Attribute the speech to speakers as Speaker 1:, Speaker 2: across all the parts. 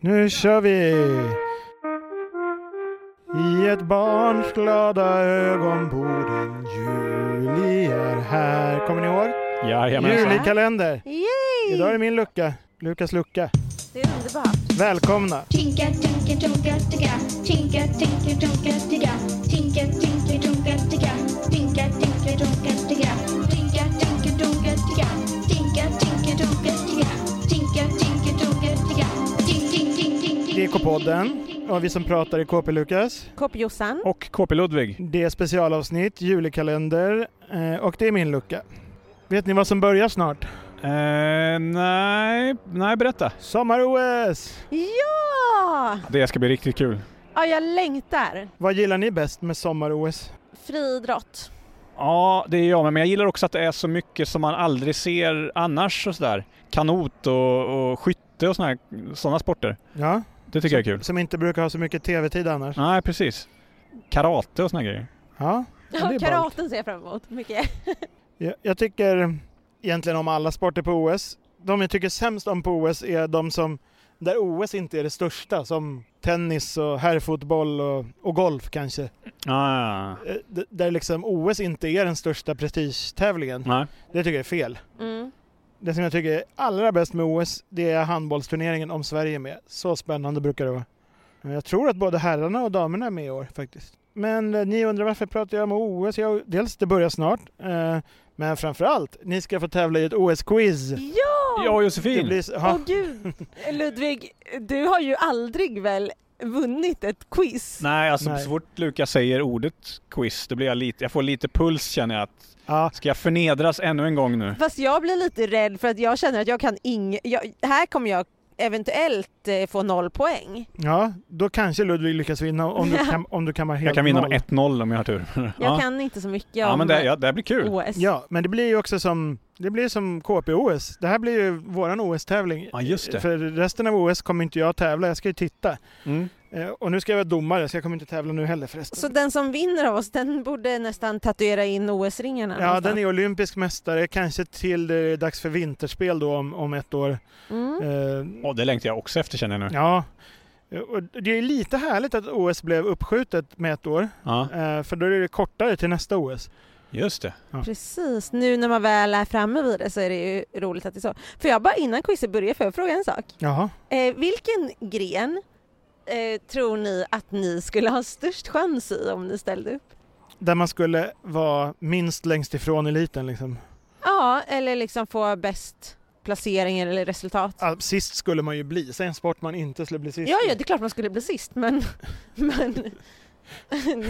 Speaker 1: Nu kör vi! I ett barns glada ögon bor en juli är här. Kommer ni ihåg?
Speaker 2: Jajamensan.
Speaker 1: Julikalender!
Speaker 3: Yay!
Speaker 1: Idag är det min lucka. Lukas lucka.
Speaker 3: Det är underbart.
Speaker 1: Välkomna!
Speaker 4: Tinka, tinka, tonka, tigga. Tinka, tinka, tonka, tigga. Tinka, tinka, tonka, tigga. Tinka, tinka, tonka, tigga. Tinka, tinka, tonka, tigga. Tinka, tinka, tonka, tigga. Tinka, tinka, tonka, tigga. Tink, tink, tink, tink, tink,
Speaker 1: GK-podden
Speaker 4: tink, tink,
Speaker 1: och vi som pratar i KP Lukas.
Speaker 3: Kopp-Jossan.
Speaker 2: Och KP Ludvig.
Speaker 1: Det är specialavsnitt, julikalender eh, och det är min lucka. Vet ni vad som börjar snart?
Speaker 2: Eh, nej, nej, berätta.
Speaker 1: Sommar-OS!
Speaker 3: Ja!
Speaker 2: Det ska bli riktigt kul.
Speaker 3: Ja, jag längtar.
Speaker 1: Vad gillar ni bäst med sommar-OS?
Speaker 3: Friidrott.
Speaker 2: Ja, det är jag med. Men jag gillar också att det är så mycket som man aldrig ser annars och sådär. Kanot och, och skytte och sådana såna sporter.
Speaker 1: Ja,
Speaker 2: Det tycker jag är kul.
Speaker 1: som inte brukar ha så mycket tv-tid annars.
Speaker 2: Nej, precis. Karate och sådana grejer.
Speaker 1: Ja, men det är ballt.
Speaker 3: Karaten ser jag fram emot mycket.
Speaker 1: Jag, jag tycker egentligen om alla sporter på OS. De jag tycker sämst om på OS är de som där OS inte är det största som tennis och herrfotboll och, och golf kanske.
Speaker 2: Ah,
Speaker 1: Eh, d- Där liksom OS inte är den största prestigetävlingen.
Speaker 2: nej.
Speaker 1: Det tycker jag är fel.
Speaker 3: Mm.
Speaker 1: Det som jag tycker är allra bäst med OS det är handbollsturneringen om Sverige är med. Så spännande brukar det vara. Men Jag tror att både herrarna och damerna är med i år faktiskt. Men eh, ni undrar varför pratar jag om OS? Jag, dels det börjar snart. Eh, men framför allt, ni ska få tävla i ett OS-quiz.
Speaker 3: Ja!
Speaker 2: Ja,
Speaker 1: Det
Speaker 2: Josefin.
Speaker 1: blir, så-
Speaker 3: Åh
Speaker 1: ja,
Speaker 3: gud, Ludvig, du har ju aldrig väl vunnit ett quiz?
Speaker 2: Nej, alltså
Speaker 1: Nej.
Speaker 2: så fort Lukas säger ordet quiz, då blir jag lite, jag får lite puls känner jag. Att,
Speaker 1: ja,
Speaker 2: ska jag förnedras ännu en gång nu?
Speaker 3: Fast jag blir lite rädd för att jag känner att jag kan ing... Jag... Här kommer jag eventuellt eh, få noll poäng.
Speaker 1: ja, då kanske Ludvig lyckas vinna om du, kam, om du kammar helt
Speaker 2: Jag kan vinna
Speaker 1: noll.
Speaker 2: med 1-0 om jag har tur.
Speaker 3: Jag
Speaker 2: ja.
Speaker 3: kan inte så mycket
Speaker 2: ja,
Speaker 3: om
Speaker 2: men det, ja, det blir kul.
Speaker 3: OS.
Speaker 1: Ja, men det blir ju också som, det blir som KP-OS. Det här blir ju våran OS-tävling.
Speaker 2: Ja, just det.
Speaker 1: För resten av OS kommer inte jag tävla, jag ska ju titta.
Speaker 2: Mm.
Speaker 1: Eh, Och nu ska jag vara domare så jag kommer inte tävla nu heller förresten.
Speaker 3: Så den som vinner av oss, den borde nästan tatuera in OS-ringarna.
Speaker 1: Ja, den är olympisk mästare, kanske till det är dags för vinterspel då om, om ett år.
Speaker 3: Mm.
Speaker 1: Eh,
Speaker 2: Åh, det längtar jag också efter känner jag nu.
Speaker 1: ja, Eh, och det är lite härligt att OS blev uppskjutet med ett år,
Speaker 2: Ja,
Speaker 1: eh, för då är det kortare till nästa OS.
Speaker 2: just det.
Speaker 3: Precis, nu när man väl är framme vid det så är det ju roligt att det är så. För jag bara innan quizet börjar, får jag fråga en sak?
Speaker 1: Jaha.
Speaker 3: Eh, vilken gren eh, tror ni att ni skulle ha störst chans i om ni ställde upp?
Speaker 1: Där man skulle vara minst längst ifrån eliten liksom.
Speaker 3: Ja, eller liksom få bäst placering eller resultat.
Speaker 1: Ah, Sist skulle man ju bli, säg en sport man inte skulle bli sist
Speaker 3: Ja,
Speaker 1: i.
Speaker 3: ja, det är klart man skulle bli sist, men, men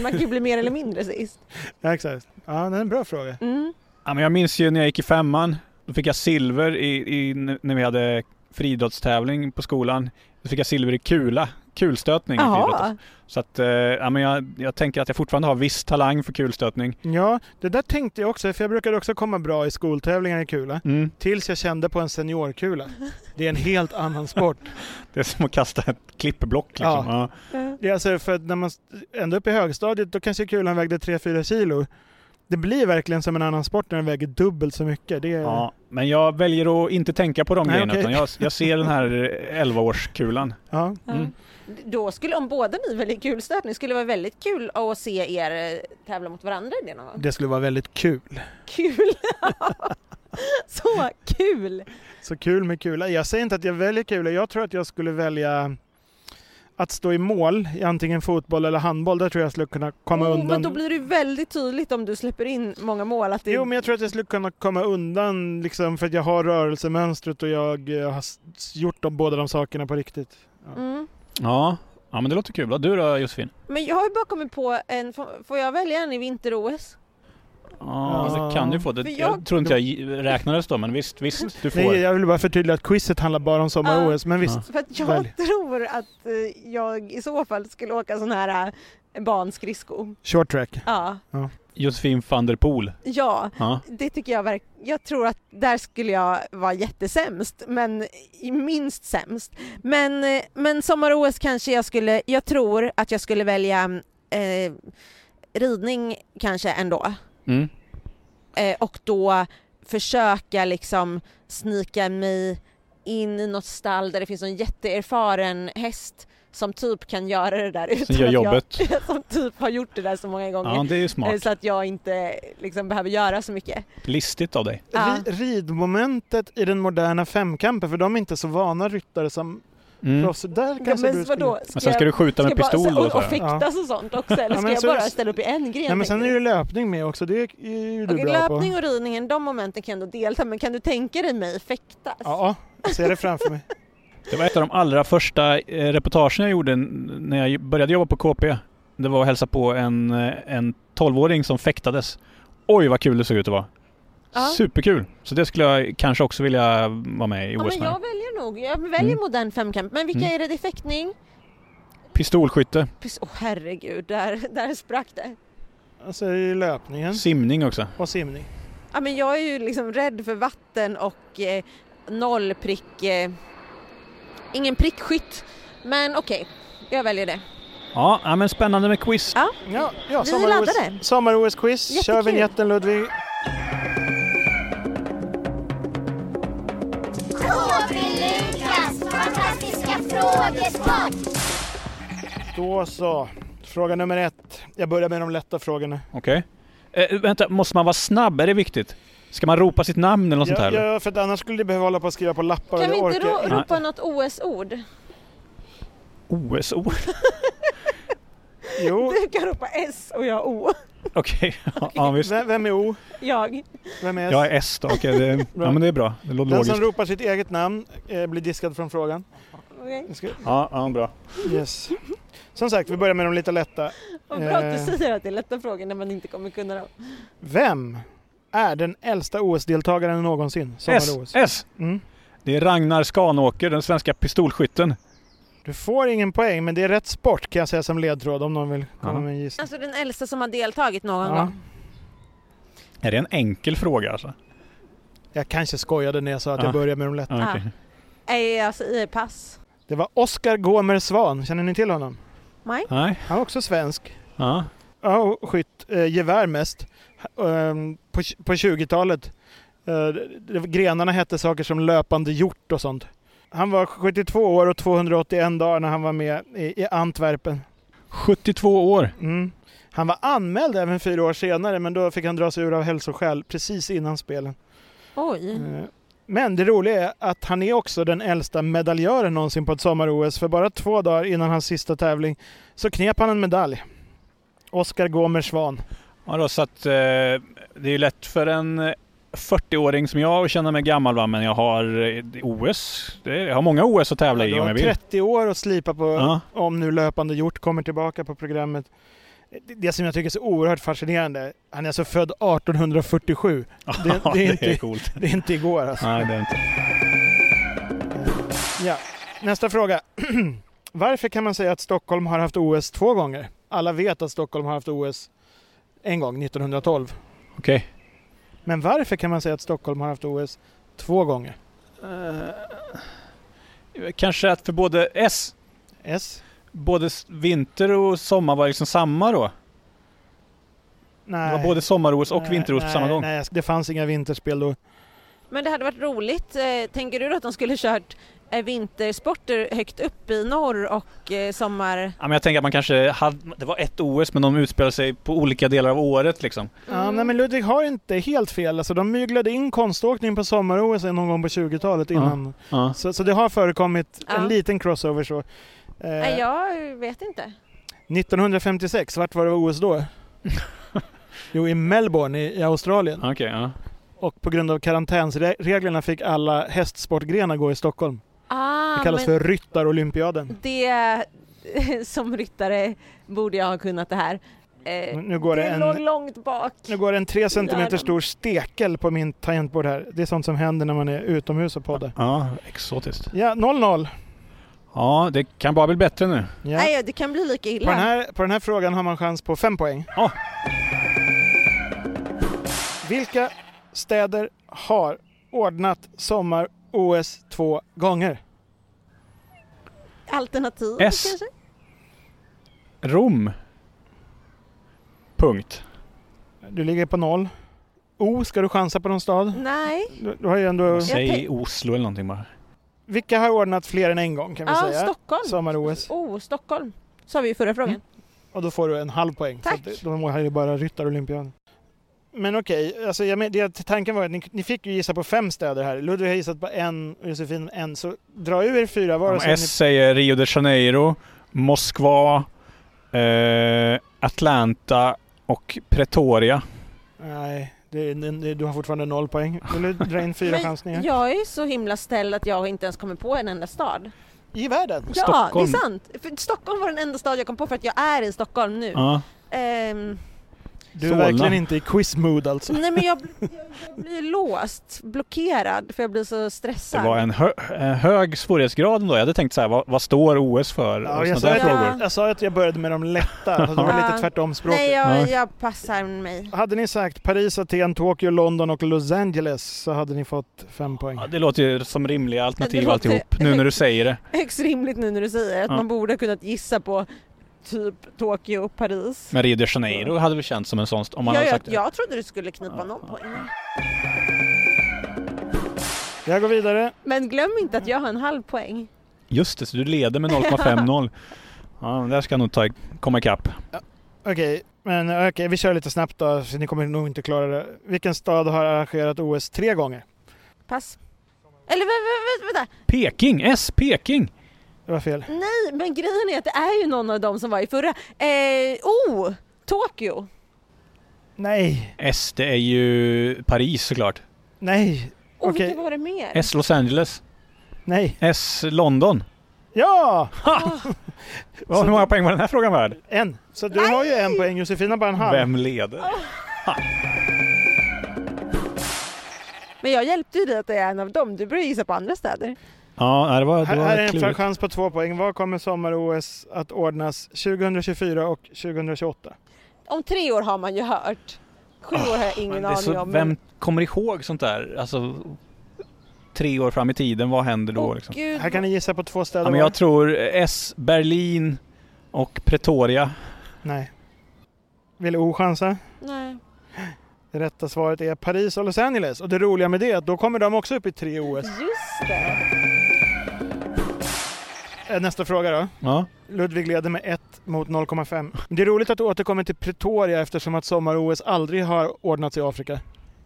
Speaker 3: man kan ju bli mer eller mindre sist.
Speaker 1: ja, exakt. Ja, det är en bra fråga.
Speaker 3: Mm.
Speaker 2: Ja, men jag minns ju när jag gick i femman. Då fick jag silver i, i, när vi hade friidrottstävling på skolan. Då fick jag silver i kula, kulstötning. i friidrott.
Speaker 3: Jaha,
Speaker 2: Så att, eh, ja, men jag, jag tänker att jag fortfarande har viss talang för kulstötning.
Speaker 1: Ja, det där tänkte jag också, för jag brukade också komma bra i skoltävlingar i kula.
Speaker 2: Mm.
Speaker 1: Tills jag kände på en seniorkula. Det är en helt annan sport.
Speaker 2: Det är som att kasta ett klippblock liksom. Ja.
Speaker 3: Ja.
Speaker 1: Det är alltså för att när man st- ända upp i högstadiet då kanske kulan vägde 3-4 kilo. Det blir verkligen som en annan sport när den väger dubbelt så mycket. Det är...
Speaker 2: Ja, men jag väljer att inte tänka på de
Speaker 1: Nej,
Speaker 2: grejerna
Speaker 1: okej.
Speaker 2: utan jag, jag ser den här 11-årskulan.
Speaker 1: Ja.
Speaker 2: Mm.
Speaker 3: Då skulle, om båda ni väljer kulstötning, skulle det vara väldigt kul att se er eh, tävla mot varandra i det någon gång.
Speaker 1: Det skulle vara väldigt kul.
Speaker 3: Kul! Så kul!
Speaker 1: Så kul med kula. Jag säger inte att jag väljer kula. Jag tror att jag skulle välja att stå i mål i antingen fotboll eller handboll. Där tror jag jag skulle kunna komma
Speaker 3: Oh,
Speaker 1: undan.
Speaker 3: men då blir det ju väldigt tydligt om du släpper in många mål att det
Speaker 1: Jo, men jag tror att jag skulle kunna komma undan liksom, för att jag har rörelsemönstret och jag eh, har s- gjort de, båda de sakerna på riktigt.
Speaker 3: mm.
Speaker 2: Ja. ja, men det låter kul. Vad Du då Josefin?
Speaker 3: Men jag har ju bara kommit på en, får- får jag välja en i vinter-OS?
Speaker 2: Ja,
Speaker 1: Ja.
Speaker 2: det kan du få. Det,
Speaker 3: För
Speaker 2: jag...
Speaker 3: jag-
Speaker 2: tror inte jag gi- räknades då, men visst, visst, du får.
Speaker 1: Nej, jag vill bara förtydliga att quizet handlar bara om
Speaker 3: Ah.
Speaker 1: sommar-OS, men visst.
Speaker 2: Ja.
Speaker 3: För att jag
Speaker 1: Välj.
Speaker 3: tror att eh, jag i så fall skulle åka sån här eh, banskridsko.
Speaker 1: Short track.
Speaker 3: Ja.
Speaker 2: Josefin van der Poel.
Speaker 3: ja,
Speaker 2: Ja.
Speaker 3: det tycker jag verk- Jag tror att där skulle jag vara jättesämst, men i- minst sämst. Men, eh, men sommar-OS kanske jag skulle, jag tror att jag skulle välja eh, ridning kanske ändå.
Speaker 2: Mm.
Speaker 3: eh, och då försöka liksom snika mig in i något stall där det finns en jätteerfaren häst som typ kan göra det där utan
Speaker 2: Som gör
Speaker 3: att
Speaker 2: jobbet.
Speaker 3: Jag, som typ har gjort det där så många gånger.
Speaker 2: Ja, det är ju
Speaker 3: Eh,
Speaker 2: smart.
Speaker 3: Så att jag inte liksom behöver göra så mycket.
Speaker 2: Listigt av dig.
Speaker 3: Ja.
Speaker 1: Ri- Ridmomentet i den moderna femkampen, för de är inte så vana ryttare som
Speaker 2: Mm.
Speaker 1: proffs. Där
Speaker 3: Ja,
Speaker 1: kanske
Speaker 3: men
Speaker 1: du skulle...
Speaker 3: vadå?
Speaker 2: Men sen ska
Speaker 3: jag-
Speaker 2: du skjuta med
Speaker 3: jag bara-
Speaker 2: pistol då
Speaker 3: och,
Speaker 2: sa
Speaker 3: och
Speaker 2: jag.
Speaker 3: fäktas och sånt också eller
Speaker 1: Ja,
Speaker 3: ska
Speaker 1: men
Speaker 3: jag
Speaker 1: så-
Speaker 3: bara ställa upp i en gren?
Speaker 1: Nej, men sen
Speaker 3: tänker
Speaker 1: är
Speaker 3: du?
Speaker 1: det ju löpning med också. Det är ju du
Speaker 3: Okej,
Speaker 1: bra
Speaker 3: löpning
Speaker 1: på.
Speaker 3: och ridningen, de momenten kan jag ändå delta men kan du tänka dig mig fäktas?
Speaker 1: Ja, jag ser det framför mig.
Speaker 2: Det var ett av de allra första eh, reportagen jag gjorde n- när jag började jobba på KP. Det var att hälsa på en, eh, en 12-åring som fäktades. Oj vad kul det såg ut att vara.
Speaker 3: Ja.
Speaker 2: Superkul! Så det skulle jag kanske också vilja vara med i
Speaker 3: Ja,
Speaker 2: OS
Speaker 3: men
Speaker 2: med.
Speaker 3: jag väljer nog, jag väljer
Speaker 2: Mm.
Speaker 3: modern femkamp. Men vilka
Speaker 2: Mm.
Speaker 3: är det i fäktning?
Speaker 2: Pistolskytte,
Speaker 3: Pis- Åh herregud, där, där sprack det.
Speaker 1: Alltså det är ju löpningen
Speaker 2: simning också.
Speaker 1: och simning.
Speaker 3: Ja, men jag är ju liksom rädd för vatten och eh, noll prick, eh, ingen prickskytt. Men okej, jag väljer det.
Speaker 2: Ja, ja, men spännande med quiz.
Speaker 1: Ja, ja
Speaker 3: Vi
Speaker 1: sommar-OS
Speaker 3: laddade.
Speaker 1: sommar-OS-quiz. Kör
Speaker 3: Jättekul.
Speaker 1: vinjetten Ludvig.
Speaker 4: KB Lukas fantastiska frågesport.
Speaker 1: Då så. Fråga nummer ett. Jag börjar med de lätta frågorna.
Speaker 2: Okej. Eh, vänta, måste man vara snabb? Är det viktigt? Ska man ropa sitt namn eller något sånt här?
Speaker 1: Ja,
Speaker 2: eller?
Speaker 1: ja, för att annars skulle du behöva hålla på och skriva på lappar
Speaker 3: Kan
Speaker 1: och
Speaker 3: vi
Speaker 1: det
Speaker 3: inte
Speaker 1: orkar jag
Speaker 3: ro- ropa något OS-ord?
Speaker 2: OSO?
Speaker 1: Jo,
Speaker 3: Du kan ropa S och jag O.
Speaker 2: Okej, ja visst.
Speaker 1: vem, vem är O?
Speaker 3: Jag.
Speaker 1: Vem är S?
Speaker 2: Jag är S då, okej. det, ja men det är bra. Det låter
Speaker 1: Den som
Speaker 2: logiskt.
Speaker 1: ropar sitt eget namn eh, blir diskad från frågan.
Speaker 3: Okej.
Speaker 1: Jag ska-
Speaker 2: Ja, ja, bra.
Speaker 1: Yes. Som sagt, vi börjar med de lite lätta.
Speaker 3: Vad bra att
Speaker 1: Eh.
Speaker 3: du säger att det är lätta frågor när man inte kommer kunna dem.
Speaker 1: Vem är den äldsta OS-deltagaren någonsin?
Speaker 2: S,
Speaker 1: Sommar-OS.
Speaker 2: S!
Speaker 1: Mm.
Speaker 2: Det är Ragnar Skanåker, den svenska pistolskytten.
Speaker 1: Du får ingen poäng, men det är rätt sport kan jag säga som ledtråd om någon vill komma
Speaker 2: Ja.
Speaker 1: med en gissning.
Speaker 3: Alltså den äldsta som har deltagit någon
Speaker 1: Ja.
Speaker 3: gång.
Speaker 2: Är det en enkel fråga alltså?
Speaker 1: Jag kanske skojade när jag sa att
Speaker 2: Ja.
Speaker 1: jag började med de lätta.
Speaker 2: Ja, okej.
Speaker 3: Är alltså i pass.
Speaker 1: Det var Oskar Gomer Svan. Känner ni till honom?
Speaker 2: Nej.
Speaker 1: Han var också svensk.
Speaker 2: Ja.
Speaker 1: Ja, och skytt eh, gevär mest. Ehm, på tj- på 20-talet. Eh, det- det- grenarna hette saker som löpande hjort och sånt. Han var 72 år och 281 dagar när han var med i, i Antwerpen.
Speaker 2: 72 år.
Speaker 1: Mm. Han var anmäld även fyra år senare men då fick han dra sig ur av hälsoskäl precis innan spelen.
Speaker 3: Oj.
Speaker 1: Eh, Men det roliga är att han är också den äldsta medaljören någonsin på ett sommar-OS för bara två dagar innan hans sista tävling så knep han en medalj. Oskar Gomer Svan.
Speaker 2: Ja, då, så att, eh, det är ju lätt för en eh, 40-åring som jag att känna mig gammal va, men jag har eh, OS. Det, jag har många OS att tävla i
Speaker 1: Du
Speaker 2: om jag
Speaker 1: har
Speaker 2: vill.
Speaker 1: 30 år att slipa på
Speaker 2: Ja.
Speaker 1: om nu löpande gjort kommer tillbaka på programmet. Det- Det som jag tycker är så oerhört fascinerande, han är alltså född 1847.
Speaker 2: Det,
Speaker 1: det är
Speaker 2: är
Speaker 1: inte-
Speaker 2: coolt.
Speaker 1: Det är inte igår alltså.
Speaker 2: Nej, det är inte.
Speaker 1: Ja. Nästa fråga. Varför kan man säga att Stockholm har haft OS två gånger? Alla vet att Stockholm har haft OS en gång, 1912.
Speaker 2: Okej.
Speaker 1: Men varför kan man säga att Stockholm har haft OS två gånger?
Speaker 2: Eh, kanske att för både S,
Speaker 1: S?
Speaker 2: både s- vinter och sommar var liksom samma då?
Speaker 1: Nej.
Speaker 2: Det var både sommar-OS och
Speaker 1: Nej,
Speaker 2: vinter-OS på
Speaker 1: nej,
Speaker 2: samma gång?
Speaker 1: Nej, det fanns inga vinterspel då.
Speaker 3: Men det hade varit roligt. Eh, Tänker du att de skulle kört eh, vintersporter högt upp i norr och eh, sommar...
Speaker 2: Ja, men jag tänker att man kanske hade, det var ett OS men de utspelar sig på olika delar av året liksom.
Speaker 1: Ja, nej, men Ludvig har inte helt fel. Alltså, de myglade in konståkning på sommar-OS någon gång på 20-talet
Speaker 2: Ja.
Speaker 1: innan.
Speaker 2: Ja.
Speaker 1: Så, så det har förekommit
Speaker 3: Ja.
Speaker 1: en liten crossover så. Eh,
Speaker 3: Mm. Nej, jag vet inte.
Speaker 1: 1956, vart var det OS då? jo, i Melbourne i, i Australien.
Speaker 2: Okej, ja.
Speaker 1: Och på grund av karantänsreglerna fick alla hästsportgrenar gå i Stockholm.
Speaker 3: Ah,
Speaker 1: Det kallas
Speaker 3: men
Speaker 1: för Ryttarolympiaden.
Speaker 3: det... Som ryttare borde jag ha kunnat det här. Eh,
Speaker 1: Nu går det
Speaker 3: det låg
Speaker 1: en,
Speaker 3: långt bak.
Speaker 1: nu går det en 3
Speaker 3: Lärde.
Speaker 1: cm stor stekel på min tangentbord här. Det är sånt som händer när man är utomhus och poddar.
Speaker 2: Ja, exotiskt.
Speaker 1: Ja, 0-0.
Speaker 2: Ja, det kan bara bli bättre nu.
Speaker 1: Ja.
Speaker 3: Nej, det kan bli lika
Speaker 1: På den,
Speaker 3: illa.
Speaker 1: här, på den här frågan har man chans på fem poäng.
Speaker 2: Ja.
Speaker 1: Vilka städer har ordnat sommar-OS två gånger?
Speaker 3: Alternativ
Speaker 2: S.
Speaker 3: kanske?
Speaker 2: Rom. Punkt.
Speaker 1: Du ligger på noll. O, ska du chansa på någon stad?
Speaker 3: Nej.
Speaker 1: Du, du har ju ändå...
Speaker 3: Jag
Speaker 2: Säg
Speaker 3: tänk-
Speaker 2: Oslo eller någonting bara.
Speaker 1: Vilka har ordnat fler än en gång kan vi
Speaker 3: Ja,
Speaker 1: säga?
Speaker 3: Stockholm.
Speaker 1: Sommar-OS.
Speaker 3: Oh, Stockholm. Sa vi ju förra frågan.
Speaker 1: Mm, Och då får du en halv poäng.
Speaker 3: Tack.
Speaker 1: För att De här är ju bara ryttarolympiaden. Men okej, alltså jag men, det, tanken var att ni, ni fick ju gissa på fem städer här. Ludvig har gissat på en och Josefin en. Så dra ur er fyra var.
Speaker 2: Om
Speaker 1: och så
Speaker 2: S säger Rio de Janeiro, Moskva, eh, Atlanta och Pretoria.
Speaker 1: ni, nej, det, det, det, du har fortfarande noll poäng. Vill du dra in fyra chansningar?
Speaker 3: Men jag är så himla ställd att jag inte ens kommer på en enda stad.
Speaker 1: I världen?
Speaker 3: Ja,
Speaker 2: Stockholm.
Speaker 3: det är sant. För Stockholm var den enda stad jag kom på för att jag är i Stockholm nu.
Speaker 2: Ja.
Speaker 3: Ehm,
Speaker 1: Du är
Speaker 2: Solna.
Speaker 1: verkligen inte i quiz-mood alltså.
Speaker 3: nej men jag, jag, jag blir låst, blockerad, för jag blir så
Speaker 2: Det
Speaker 3: stressad.
Speaker 2: var en, hö en hög svårighetsgrad ändå. Jag hade tänkt så här, vad, vad står OS för?
Speaker 1: Ja,
Speaker 2: och
Speaker 1: jag,
Speaker 2: såna
Speaker 1: sa
Speaker 2: där
Speaker 1: att,
Speaker 2: frågor.
Speaker 1: jag, sa att jag började med de lätta, så det var
Speaker 3: Ja.
Speaker 1: lite tvärtom språket.
Speaker 3: Nej, jag,
Speaker 2: Ja.
Speaker 3: jag passar mig.
Speaker 1: Hade ni sagt Paris, Aten, Tokyo, London och Los Angeles så hade ni fått fem poäng.
Speaker 2: Ja, det låter ju som rimliga alternativ
Speaker 3: Det låter-
Speaker 2: alltihop, nu när du säger det.
Speaker 3: Högst rimligt nu när du säger att
Speaker 2: Ja.
Speaker 3: man borde ha kunnat gissa på typ Tokyo och Paris.
Speaker 2: Men Rio de Janeiro hade väl känts som en sån, st- om man
Speaker 3: jag,
Speaker 2: hade sagt
Speaker 3: jag, jag trodde du skulle knipa någon poäng.
Speaker 1: Jag går vidare.
Speaker 3: Men glöm inte att jag har en halv poäng.
Speaker 2: det. Just det, så du leder med 0,50. Ja, men där ska jag nog ta, komma ikapp.
Speaker 1: Okej, men okej, vi kör lite snabbt då, så ni kommer nog inte klara det. Vilken stad har arrangerat OS tre gånger?
Speaker 3: Pass. Eller vä- vä- vä- vänta,
Speaker 2: Peking! S Peking!
Speaker 1: Det var fel.
Speaker 3: nej men grejen är att det är ju någon av dem som var i förra. Eh, oh! Tokyo!
Speaker 1: Nej,
Speaker 2: S det är ju Paris såklart.
Speaker 1: nej,
Speaker 3: Och
Speaker 1: Okej.
Speaker 3: vilka var det mer?
Speaker 2: S Los Angeles.
Speaker 1: nej.
Speaker 2: S London.
Speaker 1: Ja!
Speaker 2: Ja, hur många poäng var den här frågan värd?
Speaker 1: En. Så du har ju en poäng, Josefina bara en halv.
Speaker 2: Vem leder?
Speaker 3: Men jag hjälpte ju dig att det är en av dem, du började gissa på andra städer.
Speaker 2: Ja, nej, det var,
Speaker 1: Här,
Speaker 2: det
Speaker 1: här
Speaker 2: var
Speaker 1: är en
Speaker 2: klurigt.
Speaker 1: chans på två poäng. Var kommer sommar-OS att ordnas 2024 och 2028?
Speaker 3: Om tre år har man ju hört. Sju år har jag
Speaker 2: Ah, Men
Speaker 3: ingen
Speaker 2: det är
Speaker 3: aning
Speaker 2: så,
Speaker 3: om.
Speaker 2: vem kommer ihåg sånt där? Alltså, tre år fram i tiden, vad händer då?
Speaker 3: Åh,
Speaker 2: liksom?
Speaker 3: gud.
Speaker 1: Här kan ni gissa på två städer
Speaker 2: ja, men
Speaker 1: var.
Speaker 2: jag tror eh, S, Berlin och Pretoria.
Speaker 1: Nej. Vill O chansa?
Speaker 3: Nej.
Speaker 1: Det rätta svaret är Paris och Los Angeles. Och det roliga med det är att då kommer de också upp i tre OS.
Speaker 3: Just det.
Speaker 1: Eh, Nästa fråga då.
Speaker 2: Ja.
Speaker 1: Ludvig leder med 1 mot 0,5. Det är roligt att du återkommer till Pretoria eftersom att sommar-OS aldrig har ordnats i Afrika.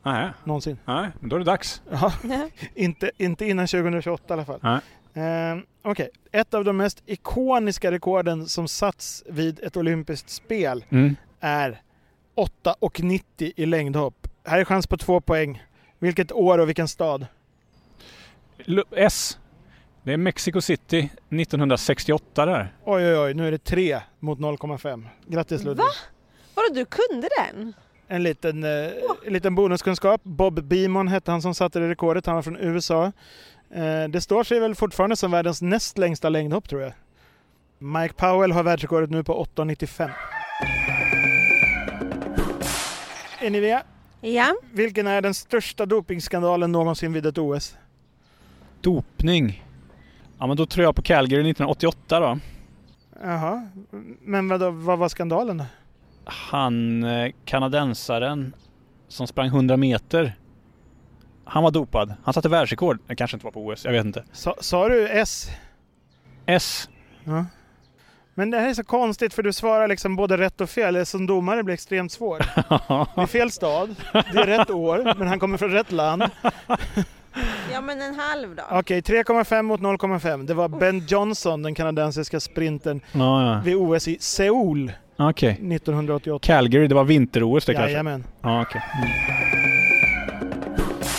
Speaker 2: Nej,
Speaker 1: Någonsin.
Speaker 2: nej, då är det dags.
Speaker 1: Ja,
Speaker 3: Nej.
Speaker 1: inte, inte innan 2028 i alla fall.
Speaker 2: Nej.
Speaker 1: Ehm, Okej, ett av de mest ikoniska rekorden som satts vid ett olympiskt spel
Speaker 2: Mm.
Speaker 1: är 8,90 i längdhopp. Här är chans på två poäng. Vilket år och vilken stad?
Speaker 2: Lu- S. Det är Mexico City 1968 där.
Speaker 1: Oj, oj, oj, nu är det 3 mot 0,5. Grattis Ludvig!
Speaker 3: Va? Vadå, du kunde den?
Speaker 1: En liten, eh, en liten bonuskunskap. Bob Beamon hette han som satte det rekordet. Han var från USA. Eh, det står sig väl fortfarande som världens näst längsta längdhopp tror jag. Mike Powell har världsrekordet nu på 8,95. Är ni med?
Speaker 3: Ja.
Speaker 1: Vilken är den största dopingskandalen någonsin vid ett OS?
Speaker 2: Dopning. Ja, men då tror jag på Calgary 1988 då.
Speaker 1: Jaha, men vadå, vad var skandalen då?
Speaker 2: Han eh, kanadensaren som sprang 100 meter. Han var dopad. Han satte världsrekord. Det kanske inte var på OS, jag vet inte.
Speaker 1: Sa, sa du S?
Speaker 2: S.
Speaker 1: Ja. Men det här är så konstigt för du svarar liksom både rätt och fel. Det Som domare blir extremt svår. Det är fel stad, det är rätt år, men han kommer från rätt land.
Speaker 3: ja, men en halv då.
Speaker 1: Okej, 3,5 mot 0,5. Det var Ben Johnson, den kanadensiska sprintern,
Speaker 2: ja, ja.
Speaker 1: vid OS i Seoul
Speaker 2: Okej.
Speaker 1: 1988.
Speaker 2: Calgary, det var vinter-OS det kanske?
Speaker 1: Jajamän.
Speaker 2: Ja, okej.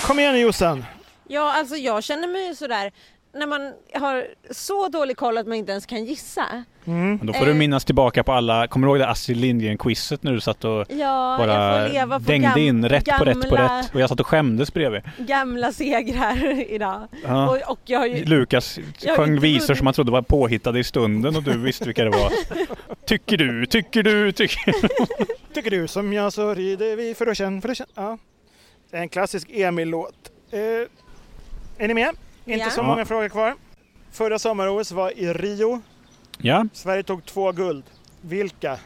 Speaker 1: Kom igen nu, Jossan!
Speaker 3: Ja, alltså jag känner mig ju sådär när man har så dålig koll att man inte ens kan gissa.
Speaker 1: Mm.
Speaker 2: Men Då får du
Speaker 3: Eh.
Speaker 2: minnas tillbaka på alla, kommer du ihåg det Astrid Lindgren-quizet när du satt och
Speaker 3: Ja,
Speaker 2: bara
Speaker 3: jag får leva på
Speaker 2: dängde
Speaker 3: gam-
Speaker 2: in rätt
Speaker 3: gamla,
Speaker 2: på rätt på rätt och jag satt och skämdes bredvid.
Speaker 3: gamla segrar idag.
Speaker 2: Ja.
Speaker 3: Och, och jag har ju...
Speaker 2: Lukas
Speaker 3: Jag har
Speaker 2: sjöng
Speaker 3: inte
Speaker 2: visor
Speaker 3: vunnit.
Speaker 2: som man trodde var påhittade i stunden och du visste vilka det var. Tycker du, tycker du, tycker...
Speaker 1: Tycker du som jag så rider vi för att känna, för att känna. Ja. Det är en klassisk Emil-låt. Eh, är ni med? Inte
Speaker 3: Ja.
Speaker 1: så
Speaker 2: Ja.
Speaker 1: många frågor kvar. Förra sommar-OS var i Rio.
Speaker 2: Ja.
Speaker 1: Sverige tog två guld. Vilka?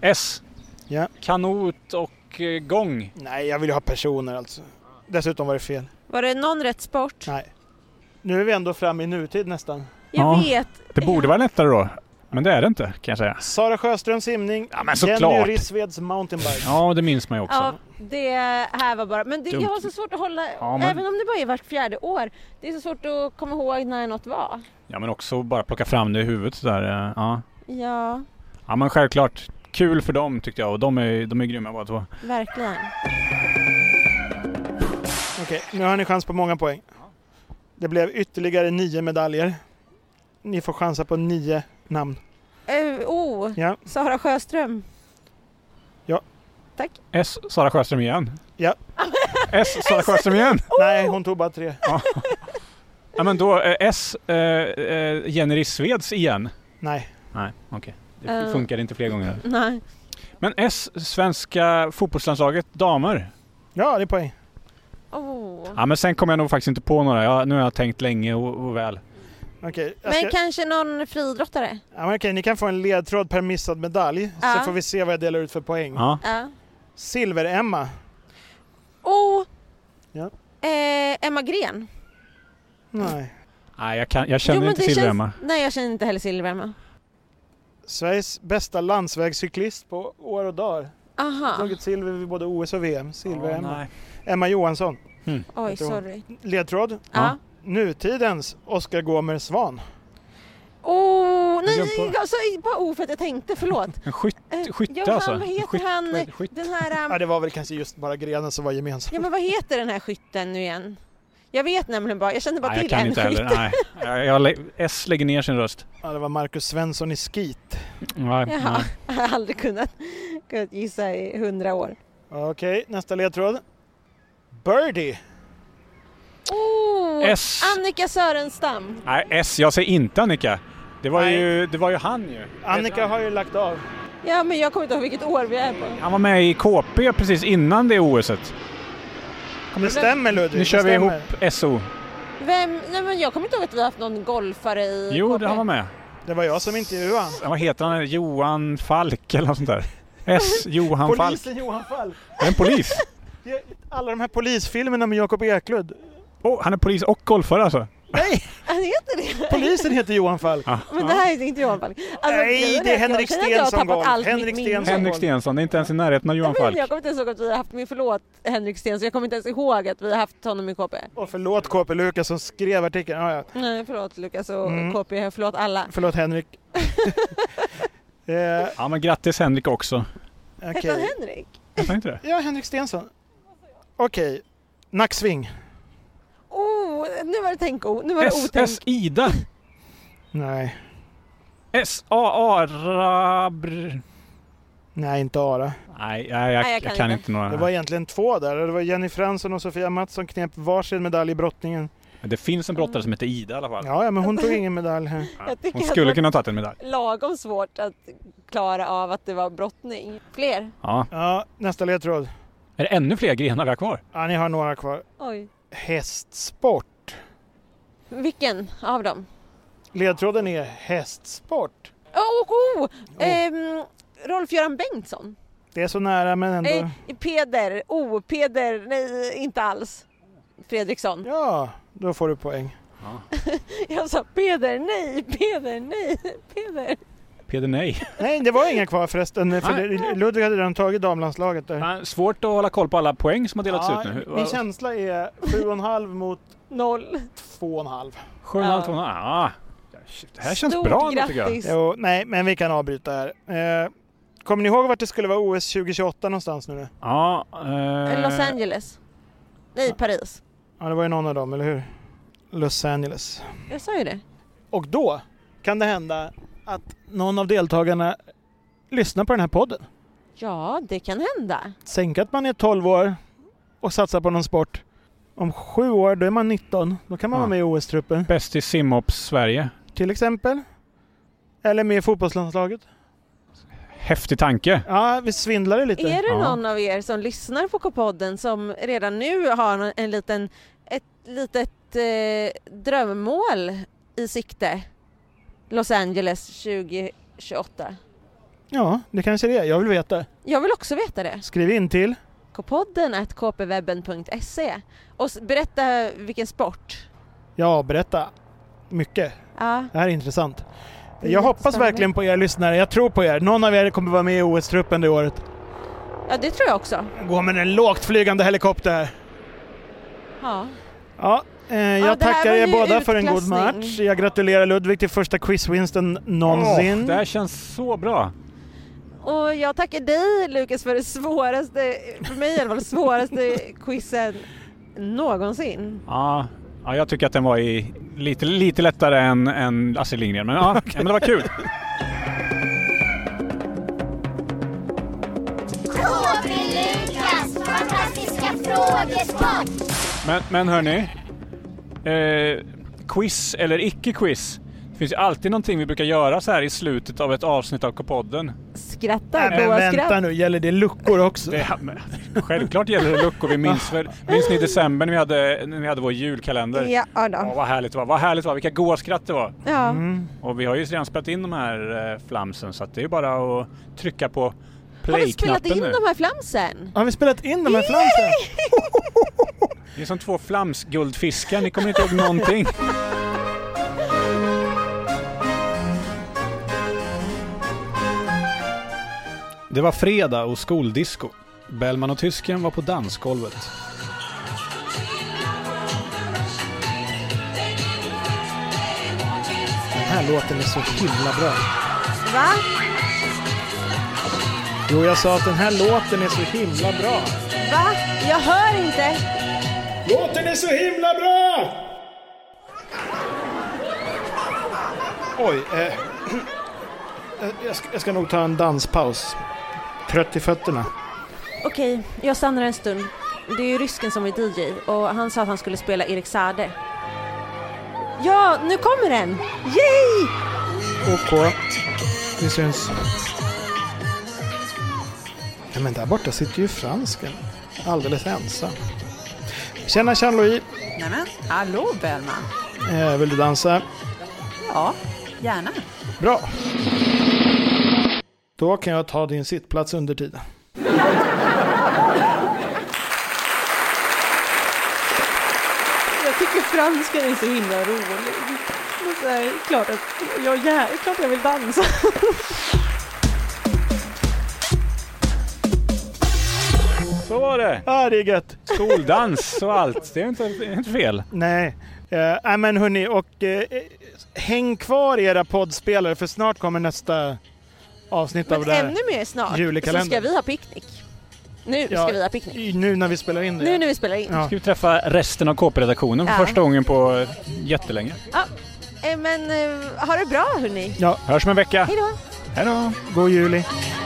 Speaker 2: S.
Speaker 1: Ja.
Speaker 2: Kanot och eh, gång.
Speaker 1: Nej, jag vill ju ha personer alltså. Dessutom var det fel.
Speaker 3: Var det någon rätt sport?
Speaker 1: Nej. Nu är vi ändå framme i nutid nästan.
Speaker 3: Jag
Speaker 2: Ja.
Speaker 3: vet.
Speaker 2: Det borde vara lättare då. Men det är det inte kan jag säga.
Speaker 1: Sara Sjöströms simning.
Speaker 2: Ja men
Speaker 1: Jenny
Speaker 2: såklart!
Speaker 1: Rissveds mountainbike.
Speaker 2: Ja det minns man ju också.
Speaker 3: Ja, det här var bara... Men det, jag
Speaker 2: Dumt.
Speaker 3: har så svårt att hålla...
Speaker 2: Ja, men-
Speaker 3: Även om det bara är vart fjärde år. Det är så svårt att komma ihåg när något var.
Speaker 2: Ja men också bara plocka fram det i huvudet sådär. eh, Ja,
Speaker 3: Ja,
Speaker 2: ja men självklart. Kul för dem tyckte jag och de är, de är grymma båda två.
Speaker 3: verkligen.
Speaker 1: Okej, nu har ni chans på många poäng. Det blev ytterligare nio medaljer. Ni får chansa på nio namn.
Speaker 3: Eh, oh,
Speaker 1: Ja.
Speaker 3: Sara Sjöström.
Speaker 2: S. Sara Sjöström igen.
Speaker 1: Ja.
Speaker 2: S. Sara Sjöström igen.
Speaker 3: Oh!
Speaker 1: Nej, hon tog bara tre.
Speaker 2: Ja men då eh, S. Eh, eh, Jenny Rissveds igen.
Speaker 1: Nej.
Speaker 2: Nej, okej.
Speaker 3: Eh.
Speaker 2: Det funkar inte fler gånger.
Speaker 3: Nej.
Speaker 2: Men S. Svenska fotbollslandslaget damer.
Speaker 1: Ja, det är poäng.
Speaker 3: Oh.
Speaker 2: Ja men sen kommer jag nog faktiskt inte på några. Ja, nu har jag tänkt länge och, och väl.
Speaker 1: Okej, jag
Speaker 3: Men
Speaker 1: ska...
Speaker 3: kanske någon friidrottare?
Speaker 1: ja, men okej, ni kan få en ledtråd per missad medalj.
Speaker 3: Ja.
Speaker 1: Så får vi se vad jag delar ut för poäng.
Speaker 2: Ja.
Speaker 3: Ja.
Speaker 1: Silver-Emma.
Speaker 3: Oh!
Speaker 1: Ja.
Speaker 3: Eh, Emma Gren.
Speaker 1: Nej.
Speaker 2: Nej jag, kan, jag känner
Speaker 3: Jo, men
Speaker 2: inte
Speaker 3: det
Speaker 2: Silver-Emma.
Speaker 3: Nej, jag känner inte heller Silver-Emma.
Speaker 1: Sveriges bästa landsvägscyklist på år och dagar.
Speaker 3: Aha.
Speaker 1: Tagit silver vid både OS och VM. Silver-Emma.
Speaker 2: nej.
Speaker 1: Emma Johansson.
Speaker 3: Oj,
Speaker 1: Jag tror-
Speaker 3: sorry.
Speaker 1: Ledtråd.
Speaker 3: Ja.
Speaker 1: Nutidens Oskar Gomer Svan.
Speaker 3: Oh, nej,
Speaker 2: Jag
Speaker 3: nej,
Speaker 2: glömde på-
Speaker 3: alltså, bara oh för att jag tänkte, förlåt.
Speaker 2: En skytt,
Speaker 3: Eh,
Speaker 2: skytte
Speaker 3: ja,
Speaker 2: alltså?
Speaker 3: han, vad heter
Speaker 2: Skytt-
Speaker 3: han?
Speaker 2: vad heter- skytt.
Speaker 3: Den här,
Speaker 1: Ja,
Speaker 3: um,
Speaker 1: det var väl kanske just bara grenen som var gemensam.
Speaker 3: ja men vad heter den här skytten nu igen? Jag vet nämligen bara, jag kände bara
Speaker 2: Nej, jag
Speaker 3: till
Speaker 2: kan
Speaker 3: en
Speaker 2: inte
Speaker 3: skytt.
Speaker 2: heller. Nej. Jag, jag, lä- S lägger ner sin röst.
Speaker 1: Ja, det var Marcus Svensson i skit.
Speaker 2: Nej,
Speaker 3: Jaha,
Speaker 2: nej.
Speaker 3: jag har aldrig kunnat, kunnat gissa i hundra år.
Speaker 1: Okej, nästa ledtråd. Birdie.
Speaker 3: Oh,
Speaker 2: S.
Speaker 3: Annika Sörenstam.
Speaker 2: Nej, S. Jag säger inte Annika. Det var,
Speaker 1: Nej.
Speaker 2: ju, det var ju han ju.
Speaker 1: Annika har ju lagt av.
Speaker 3: Ja, men jag kommer inte ihåg vilket år vi är på.
Speaker 2: Han var med i KP precis innan det OSet.
Speaker 1: Det stämmer Ludvig.
Speaker 2: Nu kör
Speaker 1: det
Speaker 2: vi
Speaker 1: stämmer.
Speaker 2: ihop SO.
Speaker 3: Vem, nej men jag kommer inte ihåg att vi har haft någon golfare i
Speaker 2: Jo,
Speaker 3: KP.
Speaker 2: det, han var med.
Speaker 1: Det var jag som intervjuade han.
Speaker 2: Vad heter han? Johan Falk eller något sånt där. S. Johan Falk.
Speaker 1: Polisen Johan Falk.
Speaker 2: Är En polis.
Speaker 1: Det- Alla de här polisfilmerna med Jakob Eklund.
Speaker 2: Oh, han är polis och golfare alltså.
Speaker 1: Nej,
Speaker 3: Han heter det?
Speaker 1: polisen heter Johan Falk.
Speaker 2: Ja.
Speaker 3: Men det här är inte Johan Falk. Alltså,
Speaker 1: Nej,
Speaker 3: gud,
Speaker 1: det är
Speaker 3: jag känner
Speaker 1: Henrik
Speaker 3: att jag
Speaker 1: Sten
Speaker 3: har
Speaker 1: som
Speaker 3: tappat
Speaker 1: golf.
Speaker 3: allt mitt
Speaker 1: Henrik Sten
Speaker 3: minne.
Speaker 1: som-
Speaker 2: Henrik Stensson. Det är inte ens i närheten av Johan
Speaker 3: jag,
Speaker 2: Falk.
Speaker 3: vet, jag kommer inte ens ihåg att vi har haft, men förlåt Henrik Sten, så jag kommer inte ens ihåg att vi har haft honom i KP.
Speaker 1: Och förlåt KP Lukas som skrev artikeln. Ja, ja.
Speaker 3: Nej förlåt Lukas och
Speaker 1: Mm.
Speaker 3: KP, förlåt alla.
Speaker 1: Förlåt Henrik. eh,
Speaker 2: Ja, men grattis Henrik också.
Speaker 3: Hette han
Speaker 1: okej.
Speaker 3: Henrik?
Speaker 2: Jag tänkte det.
Speaker 1: Ja, Henrik Stensson. Okej. Nacksving.
Speaker 3: Oh, nu var det tänk o, nu var det
Speaker 2: S.
Speaker 3: otänk.
Speaker 2: S. Ida.
Speaker 1: Nej.
Speaker 2: S. A. A. Rabr.
Speaker 1: Nej, inte Ara.
Speaker 2: Nej, nej, jag,
Speaker 3: Nej,
Speaker 2: jag, kan, inte, några.
Speaker 1: Det
Speaker 2: Det,
Speaker 1: var egentligen två där. Det var Jenny Fransson och Sofia Mattsson knep varsin medalj i brottningen.
Speaker 2: finns en brottare som heter Ida i alla fall.
Speaker 1: Ja, ja, men hon tog ingen medalj här.
Speaker 2: Ja.
Speaker 3: Jag tycker
Speaker 2: Hon
Speaker 3: att
Speaker 2: skulle
Speaker 3: man-
Speaker 2: kunna ha tagit en medalj.
Speaker 3: Lagom svårt att klara av att det var brottning. Fler?
Speaker 2: Ja.
Speaker 1: Ja, nästa ledtråd.
Speaker 2: Är det ännu fler grenar vi har kvar?
Speaker 1: Ja, ni har några kvar.
Speaker 3: Oj.
Speaker 1: Hästsport.
Speaker 3: Vilken av dem?
Speaker 1: Ledtråden är hästsport.
Speaker 3: Åh, oh, oh. Ehm, Rolf-Göran Bengtsson?
Speaker 1: Det är så nära men ändå...
Speaker 3: Eh, Peder, oh, Peder, nej inte alls. Fredriksson.
Speaker 1: Ja, då får du poäng.
Speaker 3: Jag sa Peder, nej, Peder, nej, Peder.
Speaker 2: Peder Nej.
Speaker 1: Nej, det var inga kvar förresten. För
Speaker 2: Nej.
Speaker 1: det, Ludvig hade redan tagit damlandslaget där.
Speaker 2: Ja, Svårt att hålla koll på alla poäng som har delats
Speaker 1: Ja,
Speaker 2: ut nu.
Speaker 1: Min känsla är 7,5 mot
Speaker 3: Noll.
Speaker 1: 2,5.
Speaker 2: Sju och en halv, två och en halv. Ah. Shit, Det här känns
Speaker 3: Stort
Speaker 2: bra nu tycker jag.
Speaker 3: grattis.
Speaker 1: Jo, nej, men vi kan avbryta här. Eh, kommer ni ihåg vart det skulle vara OS 2028 någonstans nu?
Speaker 2: Ja,
Speaker 3: Eh,
Speaker 2: eh,
Speaker 3: Los Angeles. Nej, Paris.
Speaker 1: Ja, det var ju någon av dem, eller hur? Los Angeles.
Speaker 3: Jag sa ju det.
Speaker 1: Och då kan det hända att någon av deltagarna lyssnar på den här podden.
Speaker 3: Ja, det kan hända.
Speaker 1: Tänk att man är 12 år och satsar på någon sport. Om sju år, då är man 19. Då kan man
Speaker 2: Ja.
Speaker 1: vara med i OS-truppen,
Speaker 2: Bäst i simhopp Sverige.
Speaker 1: till exempel. Eller med i fotbollslandslaget.
Speaker 2: Häftig tanke.
Speaker 1: Ja, vi svindlar det lite.
Speaker 3: Är det
Speaker 2: Ja.
Speaker 3: någon av er som lyssnar på K-podden som redan nu har en liten, ett litet eh, drömmål i sikte? Los Angeles 2028.
Speaker 1: Ja, det kanske det är. Jag vill veta.
Speaker 3: Jag vill också veta det.
Speaker 1: Skriv in till
Speaker 3: kpodden at kpwebben.se och s- berätta vilken sport.
Speaker 1: Ja, berätta. Mycket.
Speaker 3: Ja,
Speaker 1: Det här är intressant.
Speaker 3: Det är
Speaker 1: Jag hoppas
Speaker 3: spännande.
Speaker 1: verkligen på er lyssnare. Jag tror på er. Någon av er kommer vara med i OS-truppen det året.
Speaker 3: ja det tror jag också.
Speaker 1: Gå med en lågt flygande helikopter.
Speaker 3: Ja.
Speaker 1: Ja, eh, jag
Speaker 3: Ja, det här
Speaker 1: tackar
Speaker 3: var
Speaker 1: er
Speaker 3: ju
Speaker 1: båda för en god
Speaker 3: utklassning.
Speaker 1: match. Jag gratulerar Ludvig till första quizvinsten någonsin. Eh,
Speaker 2: Åh, det här känns så bra.
Speaker 3: Och jag tackar dig Lukas för det svåraste, för mig i alla fall, svåraste quizen någonsin.
Speaker 2: Ja, ja, jag tycker att den var i lite, lite lättare än, än Astrid Lindgren. Men, ja, ja, men det var kul.
Speaker 5: KB Lukas fantastiska frågesport.
Speaker 2: Men, men hörni. Eh, quiz eller icke-quiz. Det finns ju alltid någonting vi brukar göra så här i slutet av ett avsnitt av K-podden.
Speaker 3: Skrattar,
Speaker 1: Nej, men
Speaker 3: goa
Speaker 1: vänta
Speaker 3: skratt.
Speaker 1: nu, gäller det luckor också?
Speaker 2: Det, men, självklart gäller det luckor. Vi minns, väl, minns ni december när vi hade, när vi hade vår julkalender?
Speaker 3: Ja, ja,
Speaker 2: Åh,
Speaker 3: då.
Speaker 2: vad härligt det var. Vad härligt det var. Vilka goa skratt det var.
Speaker 3: ja.
Speaker 1: Mm.
Speaker 2: Och vi har ju redan spelat in de här eh, flamsen så att det är bara att trycka på
Speaker 3: Har vi spelat
Speaker 2: play-knappen
Speaker 3: in
Speaker 2: nu.
Speaker 3: de här flamsen?
Speaker 1: Har vi spelat in de här flamsen?
Speaker 2: Ni är som två flamsguldfiskar, ni kommer inte ihåg någonting. Det var fredag och skoldisco. Bellman och tysken var på dansgolvet.
Speaker 1: Den här låten är så himla bra.
Speaker 3: Va?
Speaker 1: Jo, jag sa att den här låten är så himla bra.
Speaker 3: Va? Jag hör inte.
Speaker 1: Låten är så himla bra! Oj, eh, eh, jag, ska, jag ska nog ta en danspaus. Trött i fötterna.
Speaker 3: Okej, jag stannar en stund. Det är ju rysken som är DJ och han sa att han skulle spela Erik Sade. Ja, nu kommer den! Yay!
Speaker 1: OK, vi syns. Nej, men där borta sitter ju fransken. Alldeles ensam. Tjena Jean-Louis,
Speaker 6: Nämen, hallå Bellman.
Speaker 1: eh, vill du dansa?
Speaker 6: Ja, gärna.
Speaker 1: Bra. Då kan jag ta din sittplats under tiden.
Speaker 3: Jag tycker franskan är så himla rolig. Men så här, klart att jag, jag, klart jag vill dansa.
Speaker 2: Så var det!
Speaker 1: Ja, det är gött.
Speaker 2: Skoldans och allt, det är inte, det är inte fel.
Speaker 1: Nej. Eh, nej, men hörni, och eh, häng kvar i era poddspelare för snart kommer nästa avsnitt av
Speaker 3: Men
Speaker 1: det här.
Speaker 3: ännu mer snart så
Speaker 1: Julekalendern.
Speaker 3: ska vi ha picknick. Nu
Speaker 1: Ja,
Speaker 3: ska vi ha picknick.
Speaker 1: i- Nu när vi spelar in det.
Speaker 3: Nu när vi spelar in.
Speaker 1: Ja.
Speaker 2: Ska vi träffa resten av KP-redaktionen för
Speaker 3: Ja.
Speaker 2: första gången på eh, jättelänge.
Speaker 3: Eh, men eh, ha det bra hörni.
Speaker 2: Hörs om en vecka.
Speaker 3: Hej då!
Speaker 2: Hej då!
Speaker 1: God juli.
Speaker 5: Thank